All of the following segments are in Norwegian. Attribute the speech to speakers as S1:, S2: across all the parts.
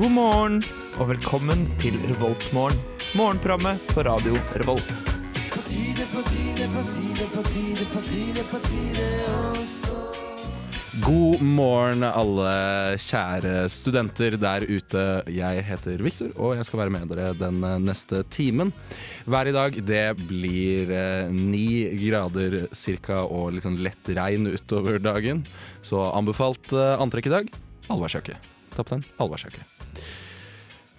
S1: God morgen og velkommen til Revoltmorgen. Morgenprogrammet på radio Revolt.
S2: God morgen, alle kjære studenter der ute. Jeg heter Viktor, og jeg skal være med dere den eh, neste timen. Hver i dag. Det blir eh, ni grader cirka og litt sånn lett regn utover dagen. Så anbefalt eh, antrekk i dag. Allværsjakke. Ta på den. Allværsjakke.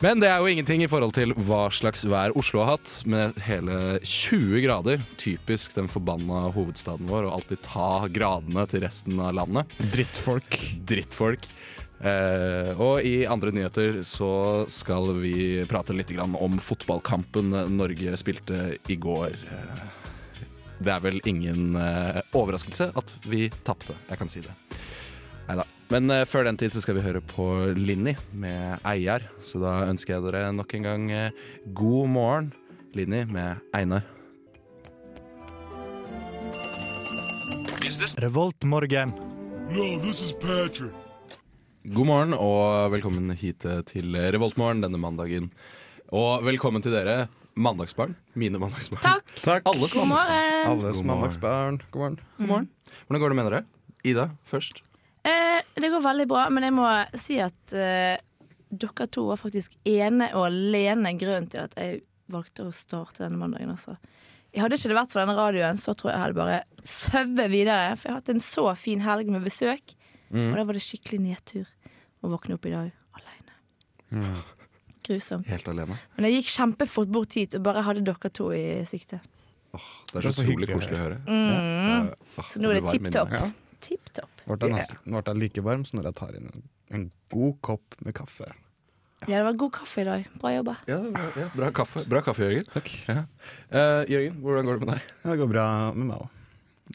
S2: Men det er jo ingenting i forhold til hva slags vær Oslo har hatt, med hele 20 grader. Typisk den forbanna hovedstaden vår, å alltid ta gradene til resten av landet.
S1: Drittfolk.
S2: Drittfolk. Eh, og i andre nyheter så skal vi prate litt grann om fotballkampen Norge spilte i går. Eh, Det er vel ingen eh, overraskelse at vi tapte, jeg kan si det. Neida. Men eh, før den tid så skal vi høre på Linni med 'Eier'. Så da ønsker jeg dere nok en gang eh, god morgen, Linni med Einar.
S1: Revoltmorgen.
S2: God morgen og velkommen hit til Revoltmorgen denne mandagen. Og velkommen til dere, mandagsbarn. Mine mandagsbarn.
S3: Takk.
S4: Takk.
S2: Alle som
S3: God
S2: mandagsbarn.
S3: morgen.
S4: Alles mandagsbarn. God morgen.
S2: God morgen. Hvordan går det med dere? Ida først.
S3: Eh, det går veldig bra, men jeg må si at eh, dere to var faktisk ene og alene grunnen til at jeg valgte å starte denne mandagen. Altså. Jeg hadde ikke det vært for denne radioen, så tror jeg jeg hadde bare søvet videre. For jeg har hatt en så fin helg med besøk, og da var det skikkelig nedtur å våkne opp i dag alene. Grusomt.
S2: Helt alene.
S3: Men jeg gikk kjempefort bort hit og bare hadde dere to i sikte.
S2: Det er så, utrolig
S4: så hyggelig å
S2: koselig å høre. Eh, åh,
S3: Mm. Så nå er det
S2: varm
S3: tipp
S2: inne.
S3: topp.
S4: Ja.
S3: Tipp topp.
S4: Ble jeg nesten- ble jeg like varm som når jeg tar inn en, en god kopp med kaffe.
S3: Ja, det var god kaffe i dag. Bra jobba.
S2: Ja, bra- ja, bra kaffe, bra kaffe Jørgen.
S4: Takk.
S2: Ja. Eh, Jørgen, hvordan går det med deg?
S4: Ja, det går bra med meg òg.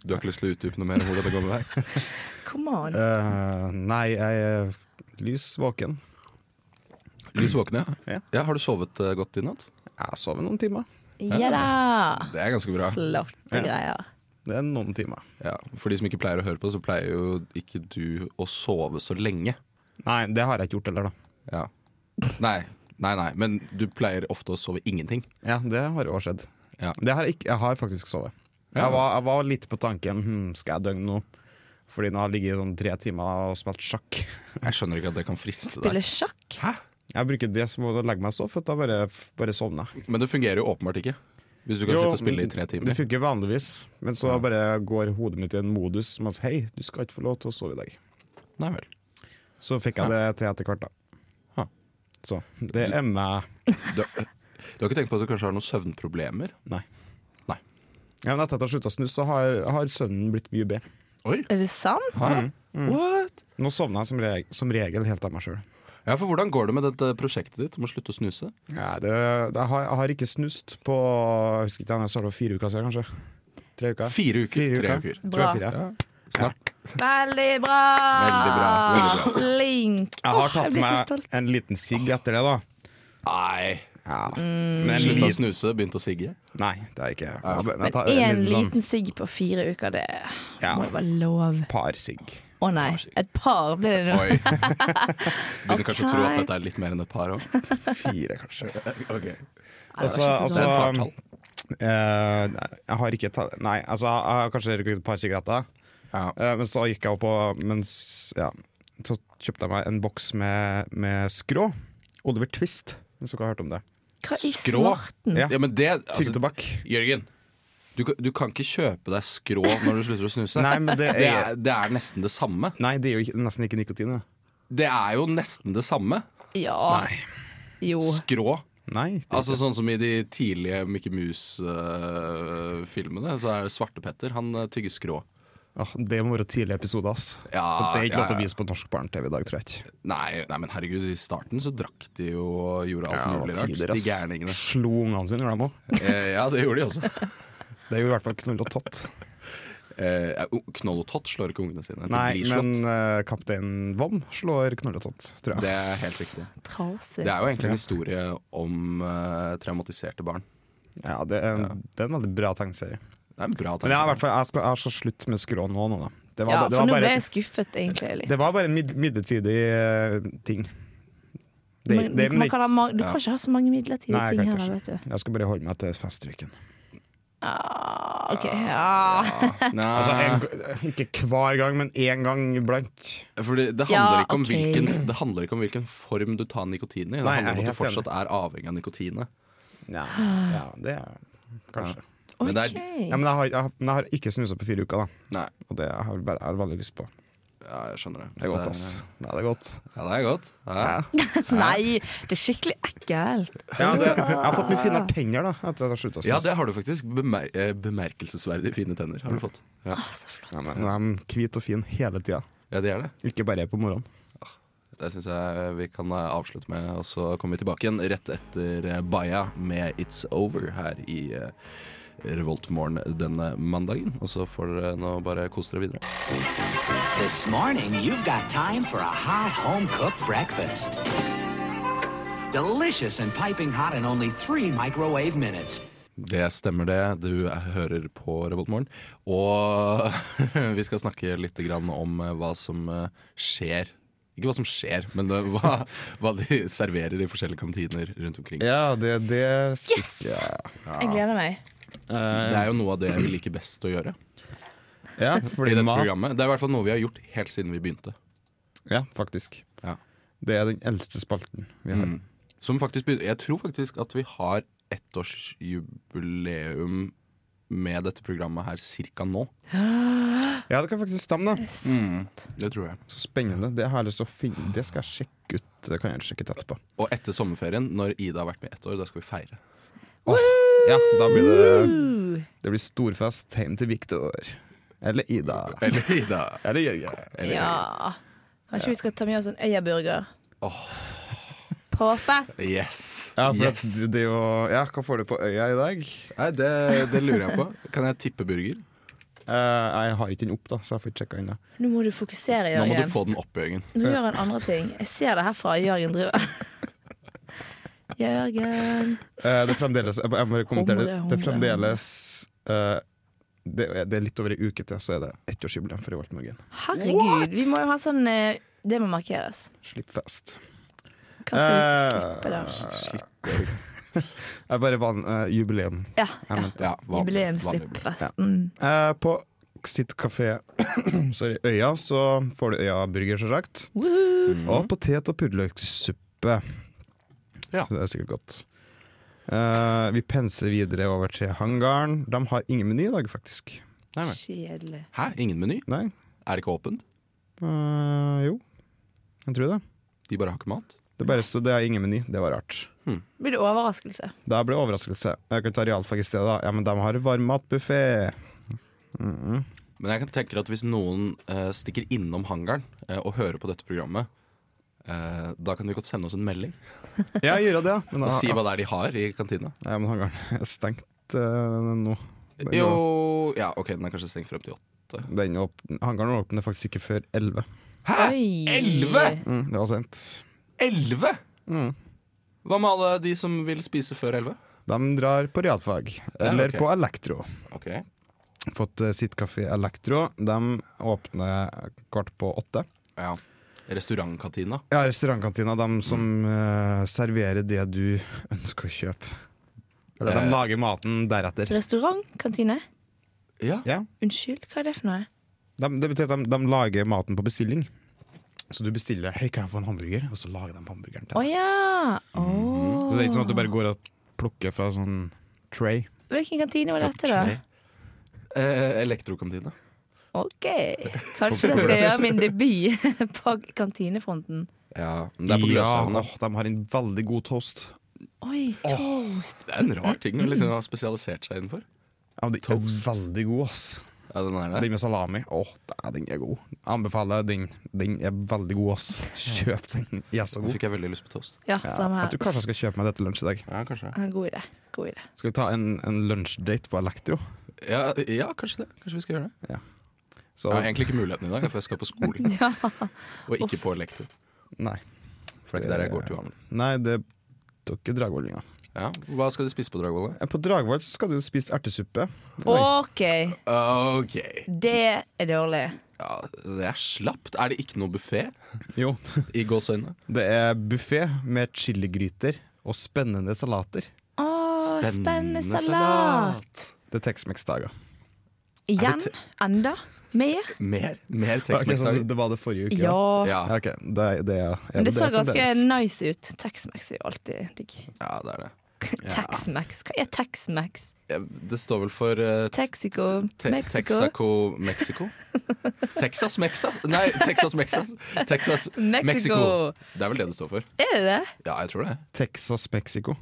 S2: Du har ikke lyst til å utdype noe mer om hvordan det går med deg?
S3: Come on.
S4: Eh, nei, jeg er lys våken.
S2: Lys våkne, ja.
S4: Ja.
S2: ja. Har du sovet eh, godt i natt?
S4: Jeg sover noen timer.
S3: Ja da!
S2: Det er ganske bra.
S3: Flotte
S4: Ja.
S3: greier.
S4: Det er noen timer.
S2: Ja, for de som ikke pleier å høre på, så pleier jo ikke du å sove så lenge.
S4: Nei, det har jeg ikke gjort heller, da.
S2: Ja. Nei, nei, nei. Men du pleier ofte å sove ingenting.
S4: Ja, det har jo også skjedd.
S2: Ja.
S4: Det har jeg, ikke, jeg har faktisk sovet.
S2: Ja.
S4: Jeg, var, jeg var litt på tanken hm, skal jeg døgne nå? Fordi nå har jeg ligget i sånn tre timer og spilt sjakk.
S2: Jeg skjønner ikke at det kan friste deg.
S3: Spiller sjakk.
S2: Hæ?
S4: Jeg bruker det som å legge meg og sove, for da bare, bare sovner jeg.
S2: Men det fungerer jo åpenbart ikke. Hvis du kan
S4: Jo,
S2: sitte og spille i tre
S4: Det
S2: timer.
S4: funker vanligvis, men så bare går hodet mitt i en modus som at hei, du skal ikke få lov til å sove i dag.
S2: Nei vel.
S4: Så fikk jeg det til etter hvert, da.
S2: Ja.
S4: Så det er meg.
S2: Du, eh, du har ikke tenkt på at du kanskje har noen søvnproblemer?
S4: Nei.
S2: Nei.
S4: Ja, men etter at jeg slutta å snuse, så har, har søvnen blitt mye bedre.
S2: Oi!
S3: Er det sant?
S2: Hæ? What?
S4: Nå sovner jeg som, reg som regel helt av meg sjøl.
S2: Ja, for hvordan går det med dette prosjektet ditt om å slutte å snuse?
S4: Ja, det, det har, jeg har ikke snust på jeg husker ikke, jeg starta for fire uker siden, kanskje. Tre uker.
S2: Fire uker.
S4: Fire
S2: Tre
S4: uker.
S2: uker.
S4: Tror jeg,
S3: Bra.
S4: fire.
S2: Snart.
S3: Veldig bra!
S2: Veldig bra, veldig
S3: Flink.
S4: Jeg har
S3: Åh,
S4: tatt
S3: blir så stolt.
S4: meg en liten sigg etter det, da.
S2: Nei!
S4: Ja.
S3: Mm.
S4: Men en
S2: Slutta å
S4: liten
S2: snuse, begynte å sigge.
S4: Nei, det har jeg ikke. Jeg, bare- jeg
S3: Men
S4: tar
S3: én
S4: en liten sånn
S3: liten sigg på fire uker, det
S4: Ja.
S3: må jo være lov.
S4: par sigg.
S3: Å nei, et par ble det nå.
S2: Oi. Begynner kanskje å tro at
S3: Ok.
S2: dette er litt mer enn et par òg.
S4: Fire, kanskje.
S3: Nei, det var
S4: Altså,
S3: ikke så
S4: altså-
S3: bra.
S2: sånn partall.
S4: Eh, jeg har ikke tatt Nei, altså, jeg har kanskje røyket et par sigaretter.
S2: Ja.
S4: Eh, men så gikk jeg opp og mens, ja, Så kjøpte jeg meg en boks med, med skrå. Oliver Twist, hvis dere har hørt om det.
S3: Hva i
S2: Skrå.
S3: smarten?
S4: Ja,
S2: Ja, men det altså,
S4: Tyggetobakk.
S2: Jørgen, du, kan- du kan ikke kjøpe deg skrå når du slutter å snuse.
S4: Nei, men det
S2: Det
S4: er
S2: er, det er nesten det samme.
S4: Nei, det er jo ikke, nesten ikke nikotin. Det.
S2: Det er jo nesten det samme.
S3: Ja. Jo.
S2: Skrå.
S4: Nei, det er
S2: Altså Sånn som i de tidlige Mickey Mouse-filmene, så er det Svartepetter. Han eh, tygger skrå.
S4: ikke- Åh, det må være tidlig episode, ass.
S2: Ja,
S4: det er ikke
S2: ja,
S4: lov til å
S2: ja.
S4: vise på norsk barne-TV i dag, tror jeg ikke.
S2: Nei, nei, men herregud, i starten så drakk de jo og gjorde alt
S4: Ja,
S2: mulig
S4: tider,
S2: rart. De
S4: ass.
S2: gærningene.
S4: Slo ungene sine, gjorde de òg.
S2: Eh, ja, det gjorde de også.
S4: Det er jo i hvert fall knull og tott.
S2: Eh, o- knoll og tott slår ikke ungene sine. De
S4: Nei,
S2: blir slått.
S4: men eh, Kaptein Vom slår knull og tott, tror jeg.
S2: Det er helt riktig.
S3: Trasig.
S2: Det er jo egentlig en historie om eh, traumatiserte barn.
S4: Ja, det er, det er en veldig bra tegneserie.
S2: Det er en bra
S4: Men jeg, har i
S2: tanke.
S4: hvert fall, jeg, skal, jeg skal slutte med skrå nå. nå da. Det, var, ba- det,
S3: Ja, for
S4: var
S3: nå
S4: bare,
S3: ble jeg skuffet, egentlig. litt
S4: det var bare en mid midlertidig eh, ting. Det, det, men
S3: Man, man
S4: det,
S3: kan ha ma du
S2: Ja.
S3: kan ikke ha så mange midlertidige
S4: Nei, jeg
S3: ting
S4: kan ikke
S3: heller,
S4: ha
S3: vet du.
S4: jeg skal bare holde meg til festruken.
S3: Ah, ok, ja.
S4: Altså, en, ikke hver gang, men én gang iblant.
S2: Fordi det
S3: Ja,
S2: handler, ikke om
S3: ok.
S2: hvilken, det handler ikke om hvilken form du tar nikotin i. Det
S4: Nei,
S2: handler om
S4: jeg er
S2: at du
S4: helt
S2: fortsatt er avhengig av nikotinet.
S4: Ja,
S3: Ah.
S4: ja det er kanskje.
S2: Men det er-
S3: Ok.
S4: Ja, men jeg har, jeg, har- men jeg har ikke snusa på fire uker, da.
S2: Nei,
S4: Og det har jeg bare- jeg har veldig lyst på.
S2: ja, jeg skjønner det.
S4: Det er godt, ass. Ja, det er godt.
S2: Ja, det er godt. Ja.
S3: Nei, det er skikkelig ekkelt.
S4: Ja, det, jeg har fått mye finere tenner da etter at jeg slutta å snus.
S2: Ja, det har du faktisk. Bemer eh, bemerkelsesverdig fine tenner har du fått. Ja,
S3: Ah, så flott.
S4: Ja, men Nå er de hvite og fine hele tida,
S2: ja det er det.
S4: ikke bare på morgenen.
S2: Det syns jeg vi kan eh, avslutte med, og så kommer vi tilbake igjen rett etter eh, Baia med It's Over her i eh, Revoltmorgen denne mandagen. Og så får dere nå bare kose dere videre.
S5: This morning, you've got time for a hot home cooked breakfast. Delicious and piping hot in only three microwave minutes.
S2: Det stemmer det. Du hører på Revoltmorgen. Og vi skal snakke litt grann om eh, hva som eh, skjer. Ikke hva som skjer, men eh, hva, hva de serverer i forskjellige kantiner rundt omkring.
S4: Ja, det, det
S3: Yes! Jeg gleder meg.
S2: Det er jo noe av det vi liker best å gjøre
S4: Ja,
S2: i
S4: fordi
S2: dette
S4: mat
S2: programmet. Det er i hvert fall noe vi har gjort helt siden vi begynte.
S4: Ja, faktisk.
S2: Ja.
S4: Det er den eldste spalten vi har.
S2: Mm. Som faktisk begyn- Jeg tror faktisk at vi har ettårsjubileum med dette programmet her cirka nå.
S4: Ja, det kan faktisk stemme, da. Mm.
S2: Det tror jeg.
S4: Så spennende. Det har jeg lyst til å finne Det skal jeg sjekke ut. Det kan jeg sjekke ut etterpå.
S2: Og etter sommerferien, når Ida har vært med ett år, da skal vi feire.
S4: Ja, da blir det
S3: Uh,
S4: Det blir storfest hjem til Viktor. Eller Ida.
S2: Eller Ida.
S4: Eller Jørgen.
S3: ja. Kanskje vi skal ta med oss en øyaburger?
S2: Åh.
S3: På fest?
S2: Yes!
S4: Ja, for
S2: yes.
S4: at det er jo Ja, hva får du på øya i dag?
S2: Nei, det, det lurer jeg på. Kan jeg tippe burger?
S4: Eh, jeg har ikke den opp, da, så jeg får ikke sjekka ennå.
S3: Nå må du fokusere,
S2: Nå må du
S3: Jørgen.
S2: få den opp, Jørgen.
S3: Nå gjør han andre ting. Jeg ser det herfra Jørgen driver. Jørgen.
S4: Eh, det er fremdeles Jeg må bare kommentere det.
S3: Humre,
S4: Det er
S3: humre.
S4: fremdeles eh, det, er- det er litt over ei uke til, så er det ettårsjubileum for Revoltmorgen.
S3: Herregud. Vi må jo ha sånn eh, Det må markeres.
S4: Slipp fest.
S3: Hva skal vi
S4: Eh,
S3: slippe der?
S4: Jeg bare vant eh, jubileum.
S3: Ja,
S4: Jeg
S3: ja.
S4: mente.
S2: Ja, van- vanlig burger.
S3: Jubileumsslippfest. Mm.
S4: Eh, på sitt kafé Sorry, Øya, så får du Øya-burger, så sagt. Og potet- og purreløksuppe.
S2: Ja.
S4: Så det er sikkert godt. Eh, vi penser videre over til hangaren. De har ingen meny i dag, faktisk.
S2: Nei, men.
S3: Kjedelig.
S2: Hæ, ingen meny?
S4: Nei?
S2: Er det ikke åpent?
S4: Eh, jo, jeg tror det.
S2: De bare har ikke mat?
S4: Det bare stod det er ingen meny. Det var rart.
S3: Blir det overraskelse?
S4: Det ble overraskelse. Jeg kan ta realfag i stedet. da. Ja, men de har varmmatbuffé.
S2: Men jeg kan tenke at hvis noen eh, stikker innom hangaren eh, og hører på dette programmet, eh, da kan de godt sende oss en melding
S4: Ja, gjør det, ja. Men,
S2: og
S4: ah,
S2: si hva det er de har i kantina.
S4: ja, men hangaren er stengt eh, nå. Den er-
S2: Jo Ja, OK, den er kanskje stengt frem til åtte.
S4: Den åp- hangaren åpner faktisk ikke før 11.
S3: Oi.
S2: Elleve?!
S4: Mm, det var sent.
S2: Elleve?!
S4: Mm.
S2: Hva med alle de som vil spise før elleve?
S4: De drar på realfag, eller
S2: ok.
S4: på elektro.
S2: Ok.
S4: Fått eh, sitt kafé elektro. De åpner kvart på åtte.
S2: Ja. Restaurantkantina.
S4: Ja, Restaurantkantina, de som eh, serverer det du ønsker å kjøpe. Eller de
S2: Eh.
S4: lager maten deretter.
S3: Restaurant? Kantine?
S2: Ja.
S4: Ja,
S3: Unnskyld, hva er det for noe?
S4: de, Det betyr at de, de lager maten på bestilling. Så du bestiller 'Hei, kan jeg få en hamburger?' og så lager de hamburgeren
S3: Å
S4: til deg.
S3: ja! Åh.
S4: Så det er ikke sånn at du bare går og plukker fra sånn tray.
S3: Hvilken kantine var dette, da?
S2: Eh, elektrokantina.
S3: OK. Kanskje jeg skal gjøre min debut på kantinefronten.
S2: Ja, men det er på Gløshaugen.
S4: ja,
S2: da.
S4: åh, de har en veldig god toast.
S3: Oi, toast!
S2: Det er en rar ting å liksom ha spesialisert seg innenfor.
S4: Ja, den er veldig god, ass.
S2: Ja, den er der.
S4: Den med salami. Åh, da, den er god. Jeg anbefaler den. Den er veldig god, ass. Kjøp den. Den er så
S2: Nå
S4: god.
S2: fikk jeg veldig lyst på toast.
S3: Ja,
S4: Ja,
S3: samme
S4: jeg
S3: her.
S4: tror kanskje jeg skal kjøpe meg det til lunsj i dag.
S2: Ja, kanskje
S3: Ja, God idé. God idé.
S4: Skal vi ta en, en lunsjdate på Elektro?
S2: Ja, ja, kanskje det. Kanskje vi skal gjøre det.
S4: Så,
S2: Jeg har egentlig ikke muligheten i dag, for jeg skal på skolen.
S3: Ja.
S2: Og ikke på lektor.
S4: nei.
S2: For det er ikke der jeg går til vanlig.
S4: Nei, det tok dragvollinga.
S2: Ja. Hva skal du spise på Dragvoll?
S4: Eh, På Dragvoll så skal du spise ertesuppe.
S3: OK,
S2: Ok.
S3: det er dårlig.
S2: Ja, det er slapt. Er det ikke noe buffé
S4: Jo,
S2: i gåseøynene?
S4: det er buffé med chiligryter og spennende salater.
S3: Å, spennende salat.
S4: Det er Tex-Mex-dager.
S3: Igjen?
S2: te-
S3: Enda? Mer?
S2: Mer? Mer
S4: Ok, så
S2: Tex-Mex-dager?
S4: det var det forrige uke?
S3: Ja.
S2: sånn- Ja.
S4: Ja, ok, det, er- det, er- ja,
S3: Men det så
S4: er
S3: ganske
S4: fremdeles.
S3: nice ut. Tex-Mex er jo alltid digg.
S2: ja, det er det.
S3: Tex-Mex? Hva er Tex-Mex?
S2: Ja, Det står vel for eh,
S3: Texico?
S2: te
S3: Mexico?
S2: Texaco Mexico? Texas Mexas? Nei, Texas Mexas. Texas
S3: Mexico.
S2: Mexico. Det er vel det det står for.
S3: Er det det?
S2: Ja, jeg tror det.
S4: Texas, Mexico.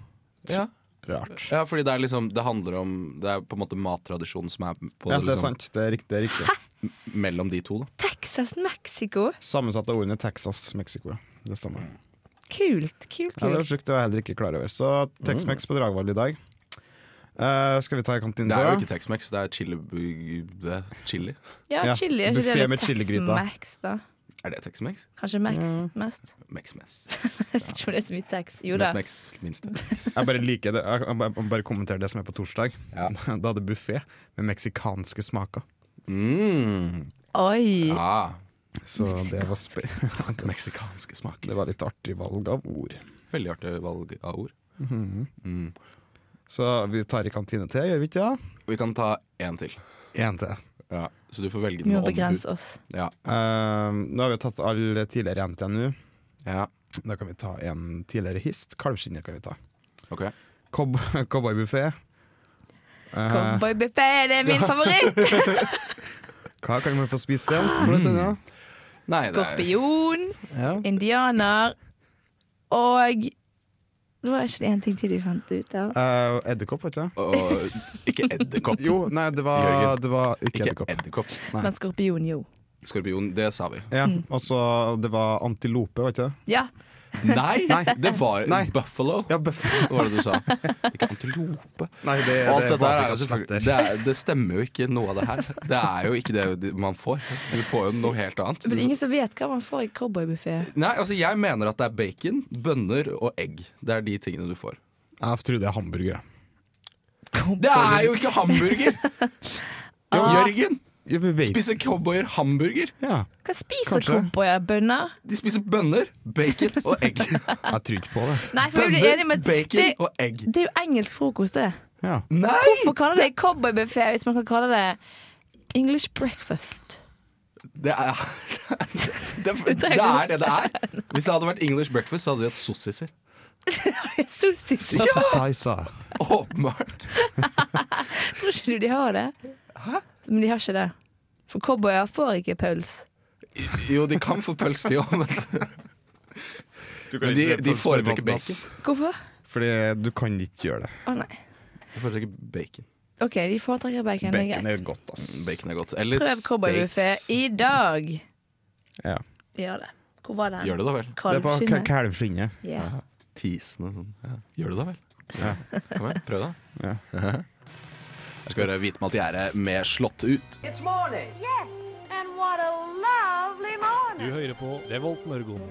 S2: Ja,
S4: Rart.
S2: ja fordi det er liksom Det handler om Det er på en måte mattradisjonen som er på
S4: Ja, det er
S2: liksom,
S4: sant. Det er riktig. Det er riktig.
S2: mellom de to. Da.
S3: Texas Mexico?
S4: Sammensatt av ordene Texas, Mexico. ja. Det stemmer.
S3: Kult, kult,
S4: Ja, det var
S3: kult.
S4: sjukt, det var jeg heller ikke klar over. Så Tex-Mex på Dragvoll i dag. Eh, skal vi ta kantinen
S2: Mm. Det er jo
S4: til?
S2: ikke Tex-Mex, det er chili, det er chili.
S3: Ja,
S4: Ja,
S3: chili. Er ikke
S4: buffet
S3: det
S4: med
S3: litt
S4: chiligryta.
S3: Tex-Mex, da?
S2: Er det Tex-Mex?
S3: Kanskje Max mest?
S2: Mex-Mex.
S3: Jeg vet ikke om det er så mye Tex. Jo da.
S2: Mest Mex, minst Tex.
S4: Jeg bare liker det. Jeg jeg bare, bare kommenterer det som er på torsdag.
S2: Ja.
S4: Da hadde buffé med meksikanske smaker.
S2: Mm.
S3: Oi.
S2: Ah,
S4: Så det var, spe
S2: meksikanske smaker.
S4: det var litt artig valg av ord.
S2: Veldig artig valg av ord. mm.
S4: Så vi tar i kantine til, gjør vi ikke det?
S2: Vi kan ta én til.
S4: En til.
S2: Ja, så du får velge
S3: Vi
S2: den
S3: må
S2: med
S3: begrense
S2: ombud.
S3: oss.
S2: Ja.
S4: Eh, nå har vi tatt alle tidligere en til nå.
S2: ja,
S4: Da kan vi ta en tidligere hist. Kalvskinnet kan vi ta.
S2: ok
S4: Cob Cowboybuffé. Uh,
S3: Cowboy buffet det er min favoritt!
S4: hva kan man få spist til? Blant
S2: Mm.
S4: annet?
S2: Nei, det er-
S3: Skorpion,
S4: Ja.
S3: indianer og Det var ikke det én ting til de fant ut av.
S4: Eh, edderkopp, vet du.
S2: Og, ikke edderkopp.
S4: Jo, nei, det var,
S2: Jørgen.
S4: det var ikke
S2: Ikke
S4: edderkopp.
S2: edderkopp.
S4: nei.
S3: Men skorpion, jo.
S2: Skorpion, det sa vi.
S4: Ja,
S3: Mm.
S4: og så det var antilope, var ikke det?
S3: Ja,
S2: Nei, det var
S4: Nei.
S2: buffalo.
S4: Ja, bøff.
S2: Hva var det du sa? Ikke antilope.
S4: Nei, det,
S2: Og alt
S4: det,
S2: dette
S4: var
S2: her er jo
S4: Afrikas
S2: selvfølgelig
S4: fletter.
S2: det, er, det stemmer jo ikke noe av det her. Det er jo ikke det man får. Du får jo noe helt annet.
S3: Men ingen som vet hva man får i cowboybuffé.
S2: Nei, altså Jeg mener at det er bacon, bønner og egg. Det er de tingene du får.
S4: Jeg tror det er hamburger. ja.
S2: Det er jo ikke hamburger!
S3: Ah.
S2: Jørgen!
S4: Ja, vi vet.
S2: Spiser cowboyer hamburger?
S4: Ja.
S3: Hva spiser
S4: Kanskje.
S3: cowboyer? Bønner?
S2: De spiser bønner, bacon og egg.
S4: Jeg tror ikke på det.
S3: Nei, for vi blir enige
S2: Bønner,
S3: med
S2: bacon
S3: det,
S2: og egg.
S3: det er jo engelsk frokost, det.
S4: Ja.
S2: Nei!
S3: Hvorfor kaller det cowboybuffé hvis man kan kalle det English breakfast?
S2: Det er det, det,
S3: Det er
S2: det
S3: ikke
S2: er det det er. Hvis det hadde vært English breakfast, så hadde de hatt sossiser.
S3: Sosis?
S4: Sa, sa, sa.
S2: Åpenbart.
S3: Tror ikke du de har det? Men de har ikke det. For cowboyer får ikke pøls.
S2: Jo, de kan få pølse, de òg, men Men de- de foretrekker bacon.
S3: Hvorfor?
S4: Fordi du kan ikke gjøre det.
S3: Å nei.
S2: Jeg foretrekker bacon.
S3: OK, de foretrekker bacon. Det er
S4: Bacon er
S3: greit.
S4: godt, ass.
S2: Mm, Bacon er godt. Eller
S3: Prøv cowboybuffé
S2: steaks.
S3: i dag.
S4: Ja.
S3: Gjør det. Hvor var den?
S2: Gjør det da vel.
S4: Det er på ka-
S3: Kalvskinnet?
S4: kalvskinnet.
S3: Ja.
S2: Tisende sånn. Ja. Gjør det da vel. Kom igjen, prøv da.
S4: Ja.
S2: Jeg skal høre hvitmalt gjerde med slått ut.
S6: It's morning.
S7: Yes, and what a lovely morning.
S8: Du hører på Revolt Mørgon.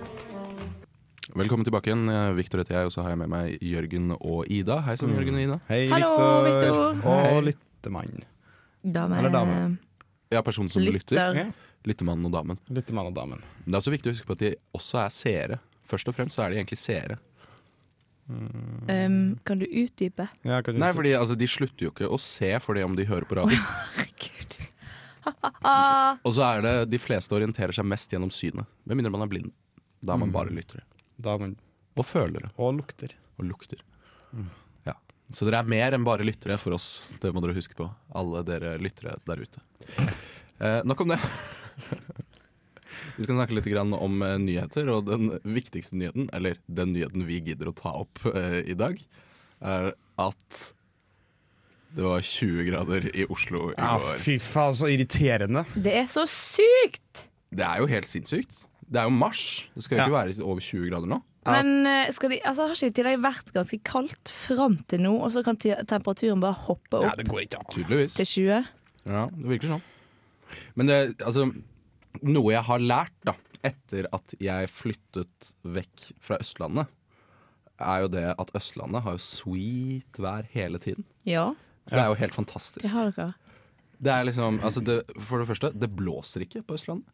S2: Velkommen tilbake igjen. Eh, Victor heter jeg, og så har jeg med meg Jørgen og Ida. Hei sann, Jørgen og Ida.
S4: Hei,
S3: Hallo,
S4: Victor.
S3: Victor.
S2: Hei.
S4: Og lyttemann.
S3: Dame.
S4: Eller dame.
S2: Ja, personen som lytter.
S3: Lytter.
S4: Ja.
S2: Lyttemannen og damen.
S4: Lyttemann og damen.
S2: Men det er også viktig å huske på at de også er seere. Først og fremst så er de egentlig seere.
S3: Um, kan du utdype?
S4: Ja, kan du-
S2: Nei, fordi altså, de slutter jo ikke å se fordi om de hører på radio.
S3: Herregud. Ha-ha-ha.
S2: Og så er det de fleste orienterer seg mest gjennom synet. Med mindre man er blind. Da er man bare lyttere.
S4: Damen
S2: Og følere.
S4: og lukter.
S2: Og lukter. Ja. Så dere er mer enn bare lyttere for oss. Det må dere huske på. Alle dere lyttere der ute. Eh, nok om det. Vi skal snakke litt grann om eh, nyheter, og den viktigste nyheten, eller den nyheten vi gidder å ta opp eh, i dag, er at det var 20 grader i Oslo i
S4: Ja,
S2: går.
S4: fy faen, så irriterende.
S3: Det er så sykt!
S2: Det er jo helt sinnssykt. Det er jo mars. Det skal jo ikke være over 20 grader nå.
S3: Men eh, skal de, altså, har ikke det i tillegg vært ganske kaldt fram til nå, og så kan te- temperaturen bare hoppe
S4: Ja,
S3: opp
S4: det går ikke an.
S2: Tydeligvis.
S3: til 20?
S2: Ja, det virker sånn. Men det, altså, noe jeg har lært da, etter at jeg flyttet vekk fra Østlandet, er jo det at Østlandet har jo sweet vær hele tiden.
S3: Ja,
S2: Det er jo helt fantastisk.
S3: det har dere.
S2: Det er liksom, altså det, For det første, det blåser ikke på Østlandet.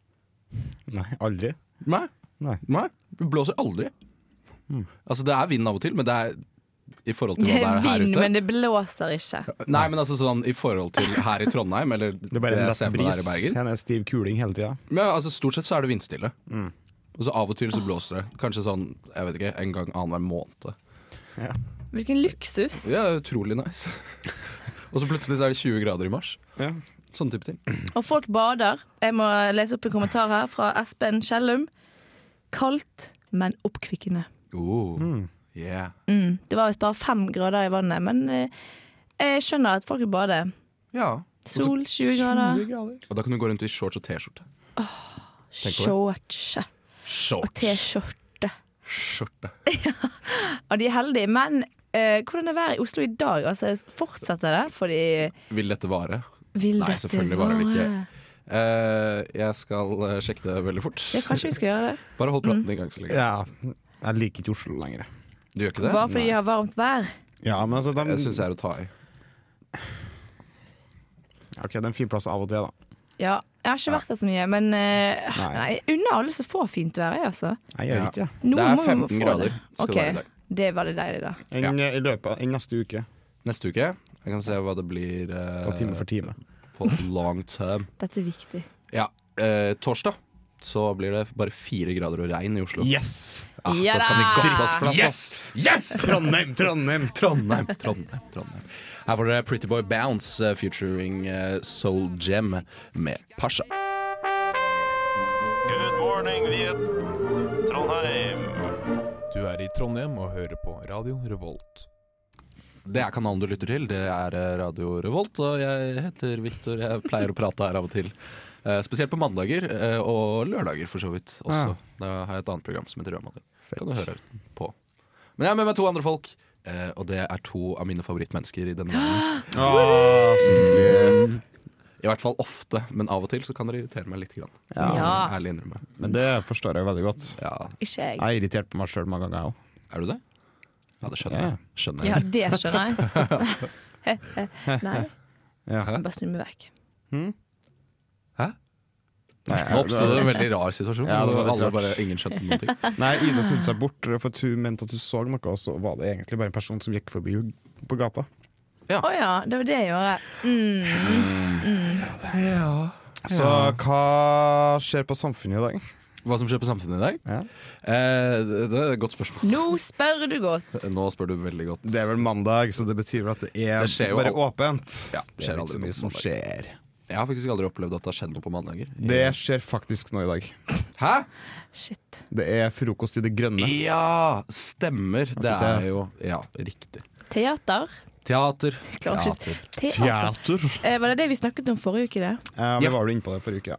S4: Nei, aldri.
S2: Nei.
S4: Nei.
S2: Nei, det blåser aldri. Altså Det er vind av og til, men det er i forhold til
S3: Det
S2: hva det
S3: er
S2: er her
S3: vind,
S2: ute.
S3: men det blåser ikke.
S2: Nei, men altså sånn i forhold til her i Trondheim, eller
S4: Det er bare en
S2: jeg
S4: lett
S2: ser for meg
S4: bris.
S2: her i Bergen.
S4: En stiv kuling hele tida.
S2: Men altså, Stort sett så er det vindstille. Og så av og til så blåser det. Kanskje sånn jeg vet ikke, en gang annenhver måned.
S3: Hvilken luksus.
S2: Ja, det er utrolig nice. og så plutselig så er det 20 grader i mars.
S4: Ja.
S2: Sånne type ting.
S3: Og folk bader. Jeg må lese opp en kommentar her fra Espen Kjellum. Kaldt, men oppkvikkende.
S2: Oh, yeah.
S3: Mm. Det var visst bare fem grader i vannet, men eh, jeg skjønner at folk vil bade.
S2: Ja.
S3: Sol, 20 grader.
S2: Og da kan du gå rundt i shorts og T-skjorte. tenk over
S3: Shorts og
S2: Shorts.
S3: T-skjorte.
S2: Skjorte.
S3: Og de er heldige, men eh, hvordan er været i Oslo i dag? Altså, fortsetter det? For de
S2: Vil dette vare?
S3: vil
S2: Nei,
S3: dette
S2: selvfølgelig varer det ikke. Eh, jeg skal eh, sjekke det veldig fort.
S3: Ja, kanskje Mm. vi skal gjøre det.
S2: Bare hold praten i gang så lenge.
S4: Ja. Jeg liker ikke Oslo lenger.
S2: Du gjør ikke det?
S3: Bare fordi de har varmt vær.
S4: Ja, men altså, de,
S2: Jeg syns det er å ta i.
S4: Ok, det er en fin plass av og til, da.
S3: Ja, jeg har ikke vært der så mye, men eh,
S4: Nei.
S3: nei, unna alle som får fint vær, jeg, altså.
S4: Jeg gjør
S2: Ja.
S4: ikke det.
S3: Noen
S2: Det er
S3: må jo
S2: 15
S3: få
S2: grader
S3: det.
S2: skal det
S3: Ok,
S2: være i dag.
S3: Det er veldig deilig, da.
S4: Enn eh, i løpet av enn neste uke.
S2: Neste uke. Jeg kan se hva det blir eh,
S4: Da time for time.
S2: på long term.
S3: Dette er viktig.
S2: Ja, eh, torsdag så blir det bare fire grader og regn i Oslo.
S4: Yes!
S2: Ah,
S3: Ja
S2: da skal vi
S3: da!
S2: godte oss på plass, ass.
S4: Yes! Trondheim, Trondheim!
S2: Trondheim, Trondheim, Trondheim. Her får dere Pretty Boy Bounce eh, featuring eh, Soul Gem med Pasha.
S6: Good morning, Viet. Trondheim.
S8: Du er i Trondheim og hører på Radio Revolt.
S2: Det er kanalen du lytter til, det er eh, Radio Revolt, og jeg heter Viktor. Jeg pleier å prate her av og til. Eh, spesielt på mandager eh, og lørdager, for så vidt. også.
S4: Ja.
S2: Da har jeg et annet program som heter Rødmaling. Kan du høre på. Men jeg er med meg to andre folk, eh, og det er to av mine favorittmennesker i denne verden.
S4: Ah, så hyggelig.
S2: I hvert fall ofte, men av og til så kan dere irritere meg litt. Grann.
S3: Ja,
S2: Ærlig innrømme.
S4: Men det forstår jeg veldig godt.
S2: Ja,
S3: ikke jeg.
S4: Jeg er irritert på meg sjøl mange ganger, jeg òg.
S2: er du det? Ja, det skjønner
S4: Ja.
S2: jeg. Skjønner
S3: Ja,
S2: jeg.
S3: det skjønner jeg. Nei,
S4: Ja.
S3: jeg bare snu meg vekk.
S2: Nå oppstod det en veldig rar situasjon.
S4: Ja, det var litt
S2: Alle
S4: rart.
S2: bare, ingen skjønte noen ting.
S4: Nei, Ida snudde seg bort for at hun mente at hun så noe, og så var det egentlig bare en person som gikk forbi hun på gata.
S3: Å ja, det var det jeg gjorde. Mm.
S4: Så hva skjer på samfunnet i dag?
S2: Hva som skjer på samfunnet i dag?
S4: Ja.
S2: Eh, det det er et godt spørsmål.
S3: Nå spør du godt.
S2: Nå spør du veldig godt.
S4: Det er vel mandag, så det betyr vel at det er
S2: Det skjer jo
S4: bare
S2: al-
S4: åpent.
S2: Ja,
S4: det er
S2: skjer
S4: vel ikke
S2: aldri
S4: så
S2: noe
S4: mye
S2: på
S4: som
S2: mandag.
S4: skjer.
S2: Jeg har faktisk aldri opplevd at det har skjedd noe på mandager.
S4: Det skjer faktisk nå i dag.
S2: Hæ?
S3: Shit.
S4: Det er frokost i det grønne.
S2: Ja! Stemmer. Det
S4: sitter jeg-
S2: er jo Ja, riktig.
S3: Teater.
S2: Teater.
S3: Jeg klarer ikke-
S2: Teater.
S3: Teater. Eh, var det det vi snakket om forrige uke? det?
S4: Eh,
S2: Ja.
S4: Vi var jo inne på det forrige uke, ja.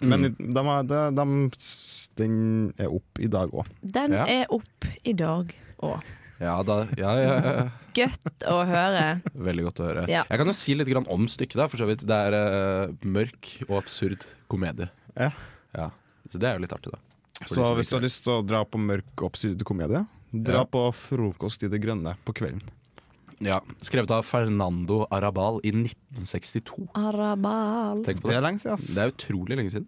S4: Men de, har- de, de, den er opp i dag òg.
S3: Den
S2: Ja.
S3: er opp i dag òg.
S2: Ja da. Ja, ja, ja.
S3: Godt å høre.
S2: Veldig godt å høre.
S3: Ja.
S2: Jeg kan jo si litt grann om stykket, da, for så vidt. Det er eh, mørk og absurd komedie.
S4: Ja.
S2: Ja. Så det er jo litt artig, da. For de
S4: Så
S2: som
S4: hvis du
S2: liker
S4: har lyst til å dra på mørk oppsydd komedie, dra
S2: Ja.
S4: på frokost i det grønne på kvelden.
S2: det. Ja. Skrevet av Fernando Arabal i 1962.
S3: Arabal.
S2: Tenk på
S4: Det
S2: det.
S4: er lenge siden. ass.
S2: Det er utrolig lenge siden.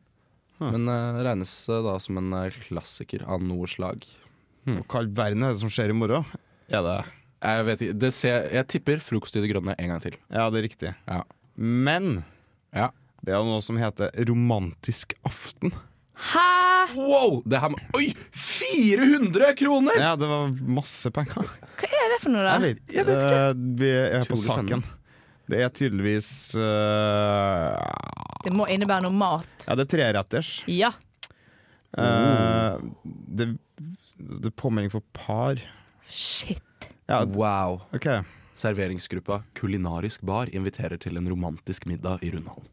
S2: Men eh, regnes eh, da som en eh, klassiker av noe slag.
S4: Og Hva i all verden er det som skjer i morgen? Er Mm. det
S2: Jeg vet ikke, det ser, jeg tipper frokost i det grønne en gang til.
S4: Ja, det er riktig.
S2: Ja.
S4: Men
S2: Ja.
S4: det er jo noe som heter romantisk aften.
S3: Hæ?
S2: Wow! Det her med, oi! 400 kroner!
S4: Ja, det var masse penger.
S3: Hva er det for noe, da?
S4: vet, ikke. Eh, vi er på
S2: Utrolig
S4: saken. Det er tydeligvis eh,
S3: Det må innebære noe mat.
S4: Ja, det er treretters.
S3: Ja.
S4: Eh, det, det er påmelding for par.
S3: Shit.
S4: Ja, d-
S2: Wow.
S4: OK.
S2: Serveringsgruppa Kulinarisk bar inviterer til en romantisk middag i Rundhallen.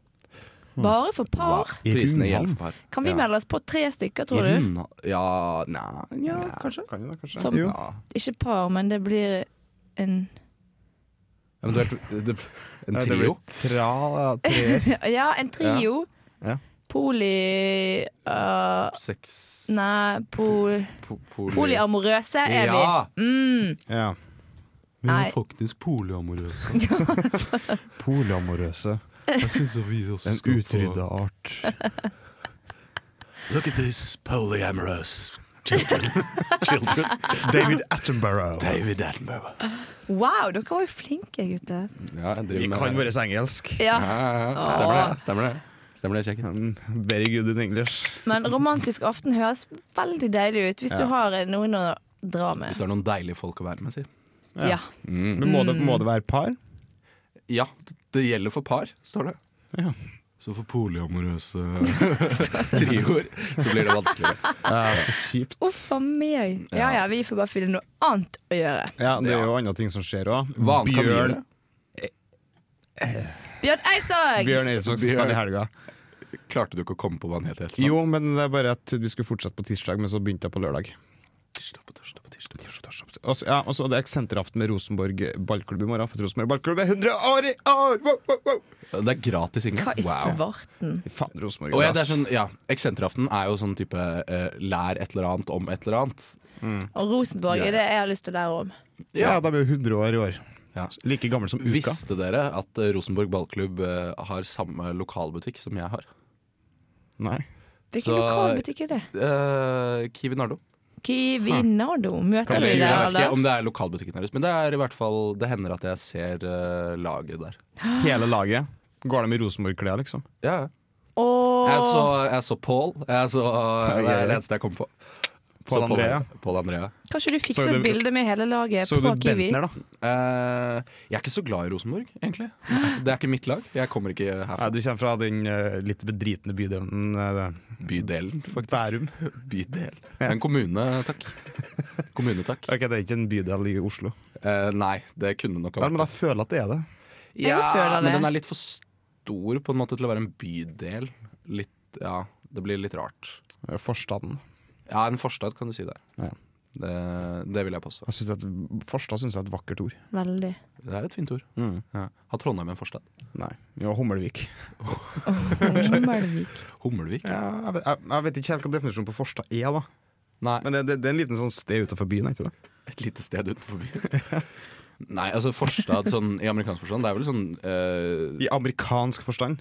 S3: Bare for par?
S4: I
S2: Prisene
S4: Rundhallen?
S2: gjelder for par.
S3: Kan vi
S2: ja.
S3: melde oss på tre stykker,
S2: I
S3: tror du?
S2: Rundha- Ja, nei, ja kanskje.
S4: Kan jo det, kanskje.
S3: Som-
S4: jo.
S2: Ja.
S3: Ikke par, men det blir en
S2: Eventuelt det, en
S4: Ja, det
S2: trio.
S4: blir tra, treer.
S3: Ja, en trio.
S4: Ja.
S3: Poli... øh,
S2: Sex
S3: nei, pol,
S2: po- poly-
S3: poliamorøse er vi.
S2: Ja!
S3: Mm,
S4: Ja.
S9: Vi er
S3: Nei.
S9: faktisk polyamorøse.
S4: Polamorøse.
S9: Jeg syns vi også
S4: En
S9: skal få
S4: utrydda art.
S9: Look at this polyamorous children. children.
S4: David Attenborough.
S9: David Attenborough.
S3: wow, dere var jo flinke, gutter.
S2: ja jeg driver
S4: Vi
S2: med-
S4: kan våres engelsk.
S2: ja,
S3: Ja.
S2: ja, ja. Stemmer det. Stemmer det. Stemmer det, kjekken.
S4: Mm, Very good in English.
S3: Men romantisk aften høres veldig deilig ut hvis
S4: Ja.
S3: du har eh, noen å dra med.
S2: Hvis du har noen deilige folk å være med, si.
S3: Ja.
S2: Mm.
S4: Men må det, må det være par?
S2: Ja, det gjelder for par, står det.
S9: Så for polyamorøse
S2: Trioer. Så blir det vanskeligere.
S4: Ja, så kjipt.
S3: Uff a meg. Ja ja, vi får bare finne noe annet å gjøre.
S4: Ja, Det er jo andre ting som skjer òg.
S2: Hva annet kan vi gjøre?
S3: Bjørn Eidsvåg!
S4: Bjørn Eidsvåg skal i helga.
S2: Klarte du ikke å komme på hva han het? i etternavn?
S4: Jo, men det er bare at vi skulle fortsette på tirsdag, men så begynte jeg på lørdag.
S2: Tirsdag på tirsdag på tirsdag. tirsdag, tirsdag på tirsdag.
S4: Og så- ja, og så er det eksenteraften med Rosenborg ballklubb i morgen. For at Rosenborg ballklubb er 100 år i år! Wow, wow, wow.
S2: Det er gratis inngang.
S3: Hva i svarten?
S4: Fy Faen, Rosenborg.
S2: Å ja, det er
S4: ass.
S2: sånn, ja. Eksenteraften er jo sånn type eh, lær et eller annet om et eller annet.
S3: Og Rosenborg
S2: Ja.
S3: er det jeg har lyst til å lære om.
S4: ja. de er jo 100 år i år.
S2: Ja.
S4: Like gammel som uka.
S2: Visste dere at eh, Rosenborg ballklubb eh, har samme lokalbutikk som jeg har?
S4: Nei.
S2: Så-
S3: Hvilken lokalbutikk er det?
S2: Eh, Kiwi Nardo.
S3: Kiwi Nardo. Møter
S2: Jeg
S3: du der,
S2: vet ikke
S3: eller?
S2: om det er lokalbutikken deres, men det er i hvert fall Det hender at jeg ser eh, laget der.
S4: Hele laget. Går de i Rosenborg-klær, liksom?
S2: Ja, ja.
S3: Åh,
S2: Jeg så, jeg så Paul. Jeg så, det er det eneste jeg kom på.
S4: Paul
S2: Så
S4: Andrea.
S2: Paul Andrea.
S3: Kanskje du fikser
S4: Så
S3: et
S4: du-
S3: bilde med hele laget
S4: Så du
S3: på Kiwi?
S4: Bentner, da?
S2: Eh, jeg er ikke så glad i Rosenborg, egentlig. Det er ikke mitt lag. Jeg kommer ikke
S4: Nei,
S2: herfra.
S4: du kommer fra den eh, litt bedritne bydelen eh,
S2: Bydelen, faktisk.
S4: Bærum.
S2: Bydel. En kommune, takk. Kommune, takk.
S4: Ok, Det er ikke en bydel i Oslo.
S2: Eh, nei, det kunne nok ha
S4: Vel,
S2: vært
S4: men da føler jeg at det er det.
S3: Jeg føler
S2: men
S3: det.
S2: den er litt for stor på en måte til å være en bydel. Litt, ja, det blir litt rart.
S4: Eh, Forstaden.
S2: Ja, en forstad kan du si der.
S4: Ja.
S2: Det, det vil jeg påstå.
S4: Jeg synes at, forstad syns jeg er et vakkert ord.
S3: Veldig.
S2: Det er et fint ord.
S4: Mm.
S2: Ja. Har Trondheim en forstad?
S4: Nei. Ja, Hummelvik.
S3: Hummelvik.
S2: Hummelvik?
S4: Ja, jeg, vet, jeg, jeg vet ikke helt hva definisjonen på forstad er, da.
S2: Nei,
S4: Men det, det, det er en liten sånn sted utenfor byen, er ikke det?
S2: et lite sted utenfor byen. Nei, altså forstad sånn, i amerikansk forstand, det er vel sånn eh,
S4: I amerikansk forstand.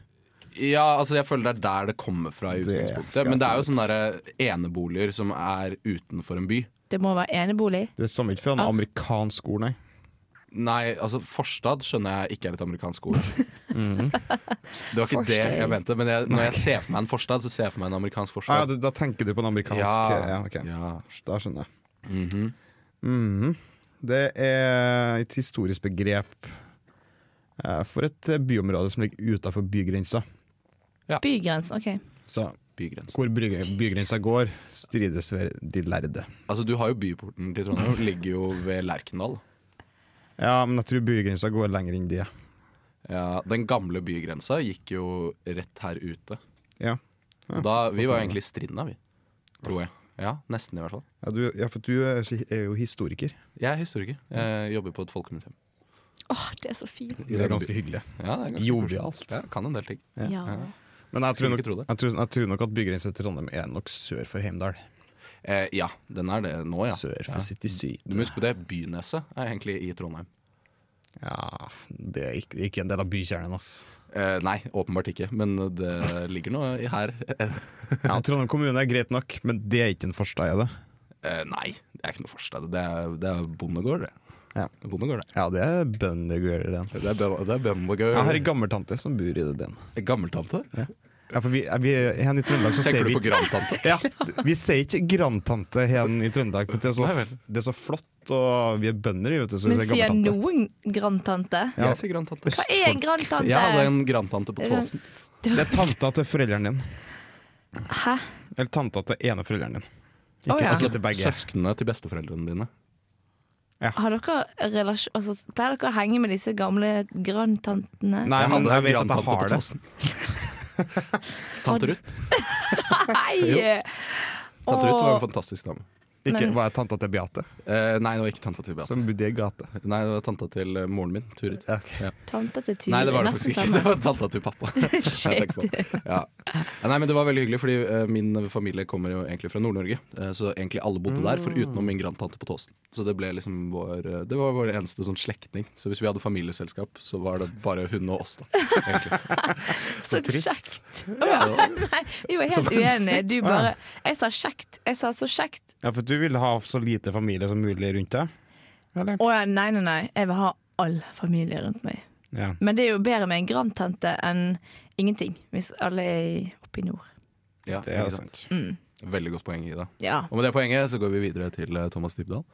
S2: Ja, altså jeg føler det er der det kommer fra i
S4: Det
S2: utgangspunktet.
S4: skal jeg
S2: Men det er jo
S4: finne
S2: sånne der eneboliger som er utenfor en by.
S3: Det må være enebolig.
S4: Det stammer ikke fra en
S3: Ah.
S4: amerikansk ord, nei.
S2: Nei, altså forstad skjønner jeg ikke er et amerikansk ord. Det var ikke
S3: Forstad.
S2: det jeg mente, men jeg, når jeg ser for meg en forstad, så ser jeg for meg en amerikansk
S4: Ah, ja,
S2: forstad.
S4: du, da tenker du på en amerikansk
S2: Ja.
S4: ja ok.
S2: Ja.
S4: Da skjønner jeg.
S2: Mhm.
S4: Mhm. Det er et historisk begrep eh, for et eh, byområde som ligger utenfor bygrensa.
S3: Bygrensen, OK.
S4: Så
S2: Bygrensen.
S4: hvor byg bygrensa går, strides ved de lærde.
S2: Altså, du har jo byporten til Trondheim, ligger jo ved Lerkendal.
S4: Ja, men jeg tror bygrensa går lenger enn det.
S2: Ja, den gamle bygrensa gikk jo rett her ute.
S4: Ja.
S2: Og Da, vi var jo egentlig i Strinda, vi. Tror jeg. Ja, nesten i hvert fall.
S4: Ja, du, ja, for du er si- er jo historiker.
S2: Jeg er historiker. Jeg jobber på et folkemuseum.
S3: Åh, det er så fint.
S4: Det er ganske hyggelig.
S2: Ja, det er ganske
S4: Jovialt.
S2: Ja, kan en del ting.
S3: Ja.
S4: Men jeg tror,
S2: Skulle
S4: nok,
S2: ikke tro det.
S4: jeg, tror, jeg tror nok at bygrensa til Trondheim er nok sør for Heimdal.
S2: Eh, ja, den er det nå, ja.
S4: Sør for
S2: ja.
S4: City Syd.
S2: Du må huske på det, Byneset er egentlig i Trondheim.
S4: Ja, det er ikke, ikke en del av bykjernen, ass.
S2: Eh, nei, åpenbart ikke, men det ligger nå i her.
S4: Ja, Trondheim kommune er greit nok, men det er ikke en forstad, er det?
S2: Eh, nei, det er ikke noe forstad. Det er, det er bondegård, det.
S4: Ja.
S2: Bondegård, det.
S4: Ja, det er bøndegården.
S2: Det er, ben- det er bondegård.
S4: Jeg har ei gammeltante som bor i den.
S2: Gammeltante?
S4: Ja, for vi, er vi Hen i Trøndelag så sier
S2: Tenker
S4: vi
S2: du på
S4: ikke
S2: grandtante?
S4: ja, Vi sier ikke grandtante hen i Trøndelag, for det er så,
S2: Nei vel.
S4: det er så flott, og vi er bønder, vet du, så vi
S3: Men
S4: sier
S3: sier
S4: gammeltante.
S3: noen grandtante?
S4: Ja.
S2: Jeg sier grandtante.
S3: Hva er Eh, en grandtante?
S2: Jeg hadde en grandtante på
S3: Er det-
S2: Tåsen.
S4: Det er tanta til foreldrene dine.
S3: Hæ?
S4: Eller tanta til ene foreldrene dine. Ikke,
S3: Å, ja.
S4: ikke til begge.
S2: Søsknene til besteforeldrene dine.
S3: Har dere relasjon altså, Pleier dere å henge med disse gamle grandtantene?
S4: Nei,
S2: Jeg
S4: men
S2: hadde
S4: jeg
S2: en
S4: vet at jeg
S2: grandtante på
S4: har det.
S2: Tåsen. Tante Ruth.
S3: Nei!
S2: Tante Ruth var en fantastisk dame.
S4: Ikke,
S3: Men-
S4: var jeg tanta til Beate,
S2: Eh, nei, det var ikke tanta til Beate.
S4: som bodde i gate?
S2: Nei, det var tanta til eh, moren min, Turid.
S4: Ok.
S3: Tante til Turid.
S2: Nei, det var det
S3: nesten
S2: faktisk ikke. Det var tanta til pappa. Jeg tenker på. Ja. Ja, Nei, men Det var veldig hyggelig, fordi eh, min familie kommer jo egentlig fra Nord-Norge. eh, så egentlig alle bodde
S3: Mm.
S2: der, for utenom min grandtante på Tåsen. Så det ble liksom vår eh, Det var vår eneste sånn slektning. Så hvis vi hadde familieselskap, så var det bare hun og oss, da. Egentlig.
S3: Så kjekt. Å, ja. Nei, vi var helt uenige. Du bare Jeg sa kjekt. Jeg sa så kjekt.
S4: Ja, for du vil ha så lite familie som mulig rundt deg? Eller?
S3: Å ja, nei, nei, nei. Jeg vil ha all familie rundt meg.
S4: Ja.
S3: Men det er jo bedre med en grandtante enn ingenting, hvis alle er i- oppe i nord.
S2: Ja,
S4: Det er altså-
S2: ikke sant?
S4: sant.
S2: Veldig godt poeng, Ida.
S3: Ja.
S2: Og med det poenget så går vi videre til eh, Thomas Dybdahl,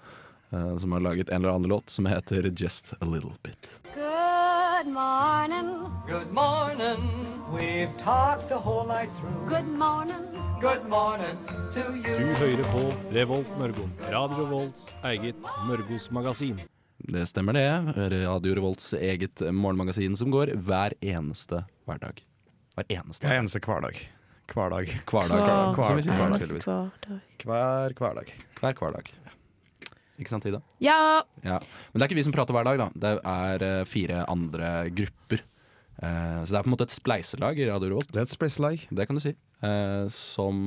S2: eh, som har laget en eller annen låt som heter Just A Little Bit.
S7: Good morning.
S5: Good morning. We've talked the whole night through.
S7: Good morning.
S5: Good morning to you.
S10: Du hører på Revolt Mørgon, Radio Revolts eget Mørgos magasin.
S2: Det stemmer det. Radio Revolts eget morgenmagasin som går hver eneste hverdag. Hver eneste
S4: Jeg er eneste hverdag. Hverdag.
S2: hverdag.
S3: Hver-
S2: som vi sier, hver,
S3: Nærmest
S2: tydeligvis.
S3: hver dag.
S4: Hver hverdag.
S2: hver hverdag. Ikke sant, Ida?
S3: Ja.
S2: Ja. Men det er ikke vi som prater hver dag, da. Det er eh, fire andre grupper. Eh, så det er på en måte et spleiselag i Radio Revolt.
S4: Det er et spleiselag.
S2: Det kan du si. Eh, som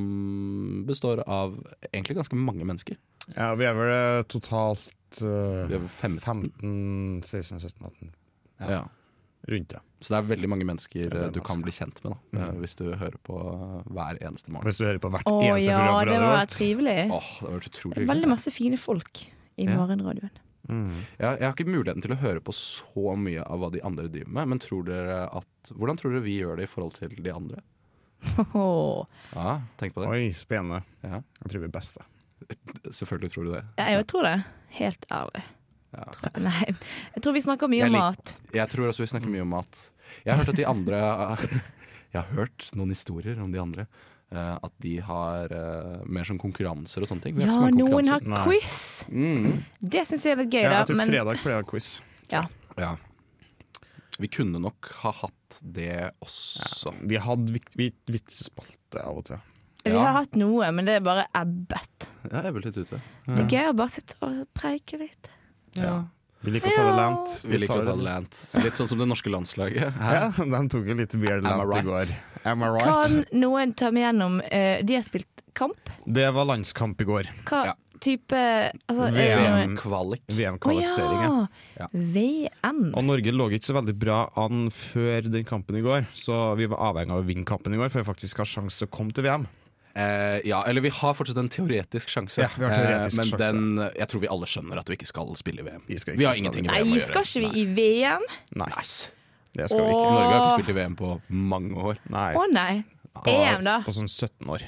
S2: består av egentlig ganske mange mennesker.
S4: Ja, vi er vel eh, totalt eh,
S2: Vi har 15.
S4: 15, 16, 17, 18 Ja.
S2: Ja.
S4: rundt det.
S2: Så det er veldig mange mennesker
S4: det er Mm.
S2: eh, du kan
S4: mennesker.
S2: bli kjent med da, eh, hvis du hører på eh, hver eneste morgen.
S4: Hvis du hører på hvert
S3: Å
S4: eneste
S3: ja,
S4: program.
S3: det var trivelig.
S2: Åh, det har vært utrolig
S3: Veldig
S2: hyggelig.
S3: masse fine folk i
S2: Ja.
S3: morgenradioen.
S4: Mm.
S2: Jeg, jeg har ikke muligheten til å høre på så mye av hva de andre driver med, men tror dere at, hvordan tror dere vi gjør det i forhold til de andre?
S3: Åh.
S2: Ja, tenk på det.
S4: Oi, spennende.
S2: Ja.
S4: Jeg tror vi er best, da.
S2: Selvfølgelig tror du det.
S3: Ja, jeg tror det. Helt ærlig.
S2: Ja.
S3: Tror- Nei. Jeg tror vi snakker mye
S2: Jeg
S3: om
S2: lik-
S3: mat.
S2: Jeg tror også vi snakker mye om at Jeg har hørt at de andre Jeg har hørt noen historier om de andre. eh, at de har eh, mer sånn konkurranser og sånne ting. Vi
S3: Ja,
S2: ikke så mange
S3: noen har
S2: konkurranser.
S4: Nei.
S3: quiz.
S2: Mm.
S3: Det syns jeg er litt gøy,
S4: Ja, jeg
S3: da.
S4: tror
S3: Men
S4: fredag pleier å ha quiz.
S2: Ja. Vi kunne nok ha hatt det også.
S4: Vi hadde vik- vi- vitsespalte av og til.
S3: vi
S2: Ja.
S3: har hatt noe, men det er bare ebbet.
S2: Ja, jeg er vel litt ute.
S3: Det er gøy å bare sitte og preike litt.
S4: Vi liker å ta det lent.
S2: Vi liker å ta det lent. Litt sånn som det norske landslaget.
S4: Ja, de tok jo litt weird
S2: Am I
S4: lent i
S2: right?
S4: går. Am I right?
S3: Kan noen ta meg gjennom eh, De har spilt kamp.
S4: Det var landskamp i går.
S3: Hva
S2: Ja.
S3: type altså, er det noe-
S2: VM-kvalik.
S3: Å
S4: VM-kvalifiseringen.
S3: ja!
S2: Ja.
S3: VM.
S4: Og Norge lå ikke så veldig bra an før den kampen i går, så vi var avhengig av å vinne kampen i går for å faktisk ha sjanse til å komme til VM.
S2: Eh, ja, eller vi har fortsatt en teoretisk sjanse.
S4: Ja, vi har
S2: Eh,
S4: teoretisk
S2: men
S4: sjanse.
S2: den Jeg tror vi alle skjønner at vi ikke skal spille i VM.
S4: Vi skal ikke
S2: har
S4: spille
S2: ingenting i
S3: Nei,
S2: VM å gjøre.
S3: skal ikke vi i VM?
S4: Nei,
S2: Nei.
S4: det skal vi
S3: Åh.
S4: ikke.
S2: Norge har ikke spilt i VM på mange år.
S4: Nei,
S3: Å nei.
S4: på,
S3: EM, da.
S4: på sånn 17 år.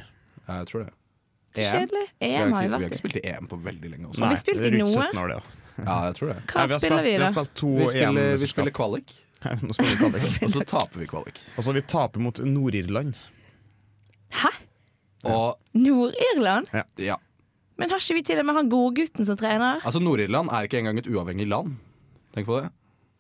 S2: Jeg tror det.
S3: Så kjedelig.
S2: Vi har,
S3: EM
S2: ikke,
S3: har vi
S2: vi har
S3: vært
S2: ikke
S3: i.
S2: spilt i EM på veldig lenge også.
S3: Har vi spilt i
S4: det er rundt
S3: noe?
S4: 17 år, det, da.
S2: Ja, jeg tror det.
S3: Hva
S4: Nei, har
S3: spiller vi,
S4: spilt- Vi
S3: da?
S4: har spilt to
S2: Vi spiller, vi spiller
S4: EM-mesterskap.
S2: kvalik,
S4: Nå spiller vi kvalik.
S2: og så taper vi kvalik.
S4: Og så vi taper mot Nord-Irland.
S3: Hæ?
S2: Og
S3: Nord-Irland?
S2: ja,
S3: Men har ikke vi til og med han godgutten som trener?
S2: altså Nord-Irland er ikke engang et uavhengig land. Tenk på det.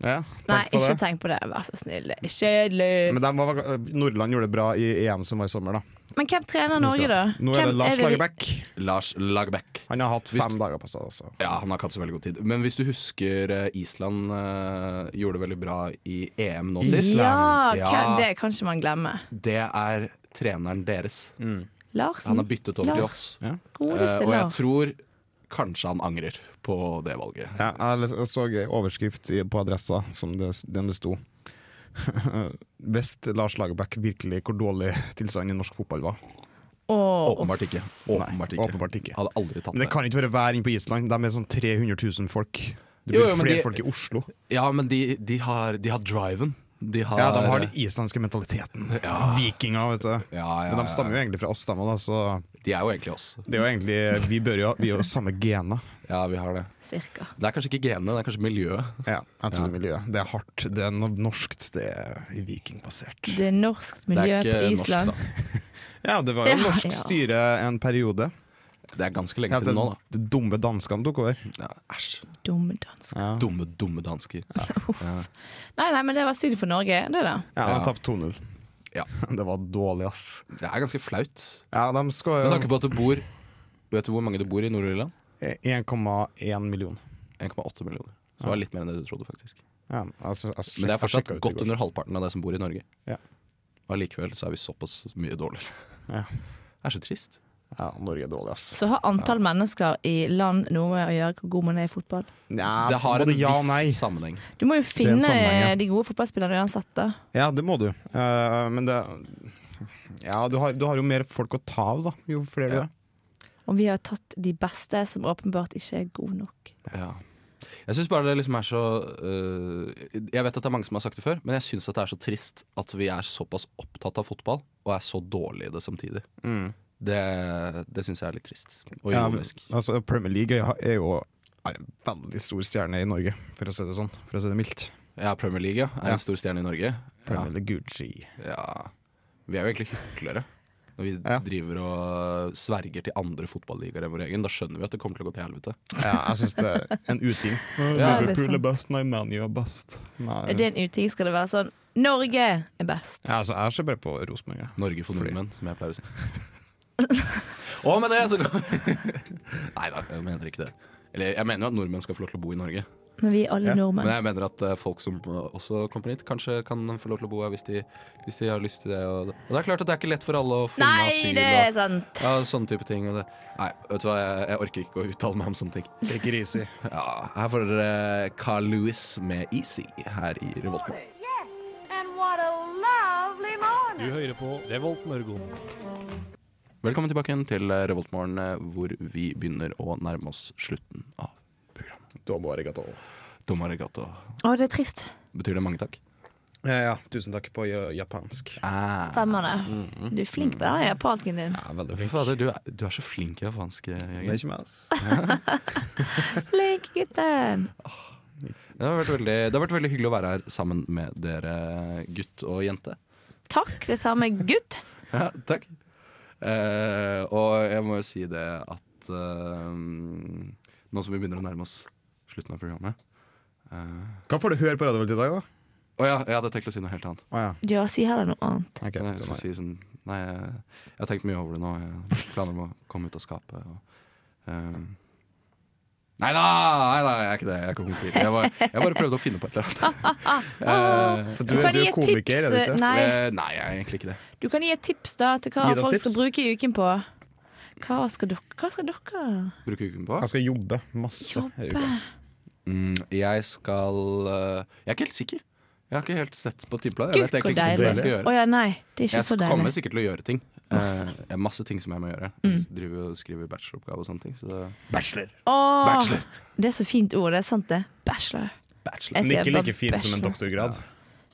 S4: Ja,
S3: Nei,
S4: tenk på
S3: ikke
S4: det.
S3: tenk på det. Vær så snill. Det er kjedelig.
S4: Men de var, Nordland gjorde det bra i EM som var i sommer, da.
S3: Men hvem trener Norge, da?
S4: Nå er det
S3: Hvem
S4: Lars
S3: vi-
S4: Lagerbäck.
S2: Lars Lagerbäck.
S4: Han har hatt
S2: Hvis-
S4: fem dager på seg. Altså.
S2: Ja, han har ikke hatt så veldig god tid. Men hvis du husker eh, Island eh, gjorde det veldig bra i EM nå sist.
S3: Ja,
S2: Ja.
S3: hvem, det kan ikke man glemme.
S2: Det er treneren deres.
S4: Mm.
S2: Han
S3: Larsen.
S2: har byttet over til
S3: Lars.
S2: oss. Eh,
S3: Godeste
S2: og jeg
S3: Lars.
S2: tror kanskje han angrer på det valget.
S4: Ja, jeg les- jeg så en overskrift i- på adressa som det, den det sto. Hvis Lars Lagerbäck virkelig hvor dårlig tilstanden i norsk fotball var.
S3: Åh,
S2: Åpenbart ikke. Åpenbart ikke.
S4: åpenbart ikke.
S2: Hadde aldri tatt
S4: Men det
S2: det.
S4: kan ikke være vær inne på Island. De er sånn 300 000 folk. Det
S2: Jo,
S4: blir
S2: jo, men
S4: flere
S2: de-
S4: folk i Oslo.
S2: Ja, men de, de, har, de har driven. De har,
S4: Ja, De har den islandske mentaliteten. Vikinger, vet du.
S2: Ja, ja,
S4: Men
S2: ja,
S4: de stammer jo egentlig fra oss, dem, da, så
S2: De er jo egentlig oss.
S4: det er jo egentlig, vi bør jo vi er jo samme gener.
S2: Ja, vi har det.
S3: cirka.
S2: Det er kanskje ikke genene, det er kanskje miljøet.
S4: Ja, jeg tror miljøet. Det er hardt, det er no- norskt, det er vikingbasert.
S3: Det er norskt
S2: Det
S3: miljø
S2: er
S3: på
S2: ikke norsk,
S3: Island.
S2: da.
S4: Ja, det var jo
S3: Ja,
S4: norsk
S3: ja.
S4: styre en periode.
S2: Det er ganske lenge
S4: Ja, det,
S2: siden nå, da.
S4: det dumme danskene tok over.
S2: Ja, æsj.
S3: Dumme dansk.
S2: Dumme, dumme dansker.
S3: Nei, nei, men det var synd for Norge, det da.
S4: Ja, De tapte 2-0.
S2: Ja.
S4: Det var dårlig, ass.
S2: Det er ganske flaut.
S4: Ja, de
S2: Med
S4: skal
S2: tanke
S4: jo
S2: på at det bor Vet du hvor mange det bor i Nord-Irland?
S4: 1,1 million.
S2: 1,8 millioner. Så det var litt mer enn det du trodde, faktisk.
S4: Ja, altså, jeg sjek-
S2: Men det
S4: jeg
S2: er fortsatt
S4: sjekket ut i
S2: godt
S4: går.
S2: under halvparten av det som bor i Norge.
S4: Ja.
S2: Og allikevel så er vi såpass mye dårligere.
S4: Ja.
S2: Det er så trist.
S4: Ja, Norge er dårlig, ass.
S3: Så har antall mennesker i land noe med å gjøre hvor god man er i fotball?
S4: Nja,
S2: Det har en
S4: både
S2: viss
S4: ja og nei.
S2: sammenheng.
S3: Du må
S4: er
S3: jo
S4: en
S3: finne
S4: sammenheng, ja.
S3: de gode fotballspillerne uansett, da.
S4: Ja, det må du. Eh, men det Ja, du har, du har jo mer folk å ta av, da. Jo flere du er.
S3: Og vi har tatt de beste som åpenbart ikke er gode nok.
S2: Ja. Jeg synes bare det liksom er så øh, Jeg vet at det er mange som har sagt det før, men jeg syns det er så trist at vi er såpass opptatt av fotball og er så dårlige i det samtidig.
S4: Mm.
S2: Det, det syns jeg er litt trist og
S4: Ja, men,
S2: ironisk.
S4: altså, Premier League er- er jo er en veldig stor stjerne i Norge, for å si det sånn. For å si det mildt.
S2: Ja, Premier League ja, er
S4: Ja.
S2: en stor stjerne i Norge. Ja,
S4: Premier League Gucci.
S2: ja. Vi er jo egentlig hyklere. Når vi
S4: Ja.
S2: driver og sverger til andre fotballigaer enn vår egen, da skjønner vi at det kommer til å gå til helvete.
S4: Ja, jeg syns det er en uting.
S2: Ja,
S3: Liverpool er
S4: best, nei, ManU er best. Nei.
S3: Er det en uting? Skal det være sånn Norge er best.
S4: Ja, altså, jeg ser bare på Rosenborg. jeg.
S2: Norge for
S4: Fordi-
S2: nordmenn, som jeg pleier å si. Og med det så går Nei da, jeg mener ikke det. Eller jeg mener jo at nordmenn skal få lov til å bo i Norge.
S3: Men vi er alle
S4: Ja,
S2: Men
S3: nordmenn.
S2: jeg mener at eh, folk som eh, også kommer hit, kanskje kan få lov til å bo her hvis de, hvis de har lyst til det. Og, og det er klart at det er ikke lett for alle å finne
S3: Nei,
S2: asyl
S3: det er sånn
S2: og
S3: sant!
S2: ja, sånne type ting. Og det. Nei, vet du hva, jeg, jeg orker ikke å uttale meg om sånne ting.
S4: Ikke risig.
S2: Ja, her får dere Carl Lewis med Easy her i Revolten.
S7: Yes, and what a lovely
S10: Du
S7: morning.
S10: hører på Revolt Mørgon.
S2: Velkommen tilbake igjen til eh, Revoltmorgen, eh, hvor vi begynner å nærme oss slutten av programmet.
S4: Domo arigato.
S2: Tom arigato.
S3: Å, det er trist.
S2: Betyr det mange takk?
S4: Ja, ja. Tusen takk på ja- japansk.
S3: Stemmer det.
S4: Mm-hmm.
S3: Du er flink på den japansken din.
S4: Jeg er veldig
S2: Ah. Fy
S4: flink.
S2: Fader, du er, du er så flink i japansk. eh,
S4: Det er
S2: Jørgen.
S4: ikke meg, ass.
S3: Flink gutten!
S2: Det har, vært veldig, det har vært veldig hyggelig å være her sammen med dere, gutt og jente.
S3: Takk, det samme gutt.
S2: Ja, takk. Eh, og jeg må jo si det at eh, nå som vi begynner å nærme oss slutten av programmet eh,
S4: Hva får du høre på Radio Volt i dag, da?
S2: Å ja, jeg hadde tenkt å si noe helt annet.
S4: Å ja.
S3: Ja, si heller noe annet.
S4: ok,
S2: Nei, jeg,
S4: sånn
S2: skulle
S4: er det.
S2: si sånn, nei, jeg, jeg har tenkt mye over det nå. Jeg planer om å komme ut og skape. Og, eh, nei da, nei da, jeg er ikke det. Jeg er ikke homofil. Jeg, bare- jeg bare prøvde å finne på et eller annet. Eh,
S4: For du, er- du er komiker, er du ikke?
S3: Nei,
S2: eh, nei, jeg er egentlig ikke det.
S3: du kan gi et tips da til hva
S4: Gi oss
S3: folk
S4: tips.
S3: skal bruke i uken på. Hva skal dere? Hva skal dere?
S2: Bruker uken på.
S4: Jeg skal jobbe masse i uka.
S2: Mm, jeg skal eh, Jeg er ikke helt sikker. Jeg har ikke helt sett på timeplanen. Jeg
S3: Gud,
S2: vet
S3: hvor
S2: egentlig ikke
S3: deilig.
S2: hva jeg skal gjøre.
S3: Å ja, nei. Det er ikke
S2: Jeg
S3: så
S2: skal- kommer
S3: deilig.
S2: sikkert til å gjøre ting. Eh,
S3: Masse. Mm.
S2: jeg har masse ting som jeg må gjøre. Så Driver jo og skriver bacheloroppgave og sånne ting. Så det,
S4: Bachelor.
S3: Åh,
S2: Bachelor.
S3: Det er så fint ord, det er sant det. Bachelor.
S2: bachelor.
S3: Jeg
S4: Men
S3: sier
S4: ikke
S3: bare
S4: like fint som en
S3: bachelor.
S4: doktorgrad.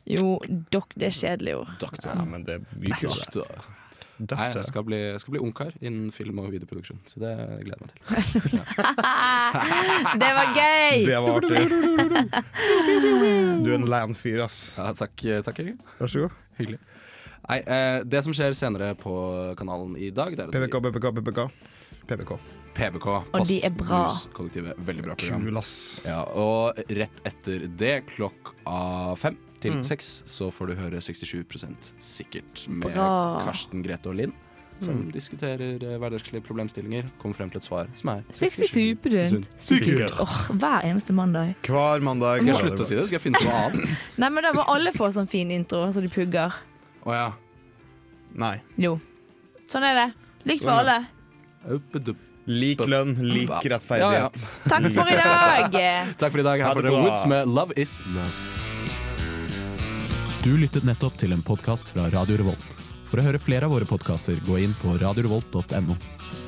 S3: Jo, dok, det er kjedelig ord.
S4: Doktor. Ja, altså, men det er mye kulere.
S2: Nei,
S4: Doktor.
S2: jeg skal bli, jeg skal bli ungkar innen film- og videoproduksjon. Så det gleder jeg meg til.
S3: Det var gøy!
S4: Det var artig. Du er en landfyr, ass.
S2: Ja, takk, eh, takk Jørgen.
S4: Vær så god.
S2: Hyggelig. Nei, eh, det som skjer senere på kanalen i dag, det er at vi-
S4: PBK, PBK, PBK. PBK.
S2: PBK,
S3: Og de er bra.
S2: Blues-kollektivet. Veldig bra program.
S4: Kul, ass.
S2: Ja, og rett etter det, klokka fem til seks, så får du høre 67 sikkert med
S3: Bra.
S2: Karsten, Grete og Linn. Som diskuterer eh, hverdagslige problemstillinger. Kommer frem til et svar som er
S3: 67 prosent.
S4: Sikkert.
S3: Åh, Hver eneste mandag.
S4: Hver mandag.
S2: Skal jeg slutte å si det? Skal jeg finne på noe annet?
S3: Nei, men da må alle få sånn fin intro, så de pugger.
S2: Å ja.
S4: Nei.
S3: Jo. Sånn er det. Likt for alle.
S4: Lik lønn, lik
S2: Ja, ja.
S4: rettferdighet.
S3: Takk for i dag!
S2: Takk for i dag. Her
S4: Ha det
S2: får dere
S4: bra.
S2: Woods med 'Love Is Love'.
S9: Du lyttet nettopp til en podkast fra Radio Revolt. For å høre flere av våre podkaster, gå inn på radiorevolt.no.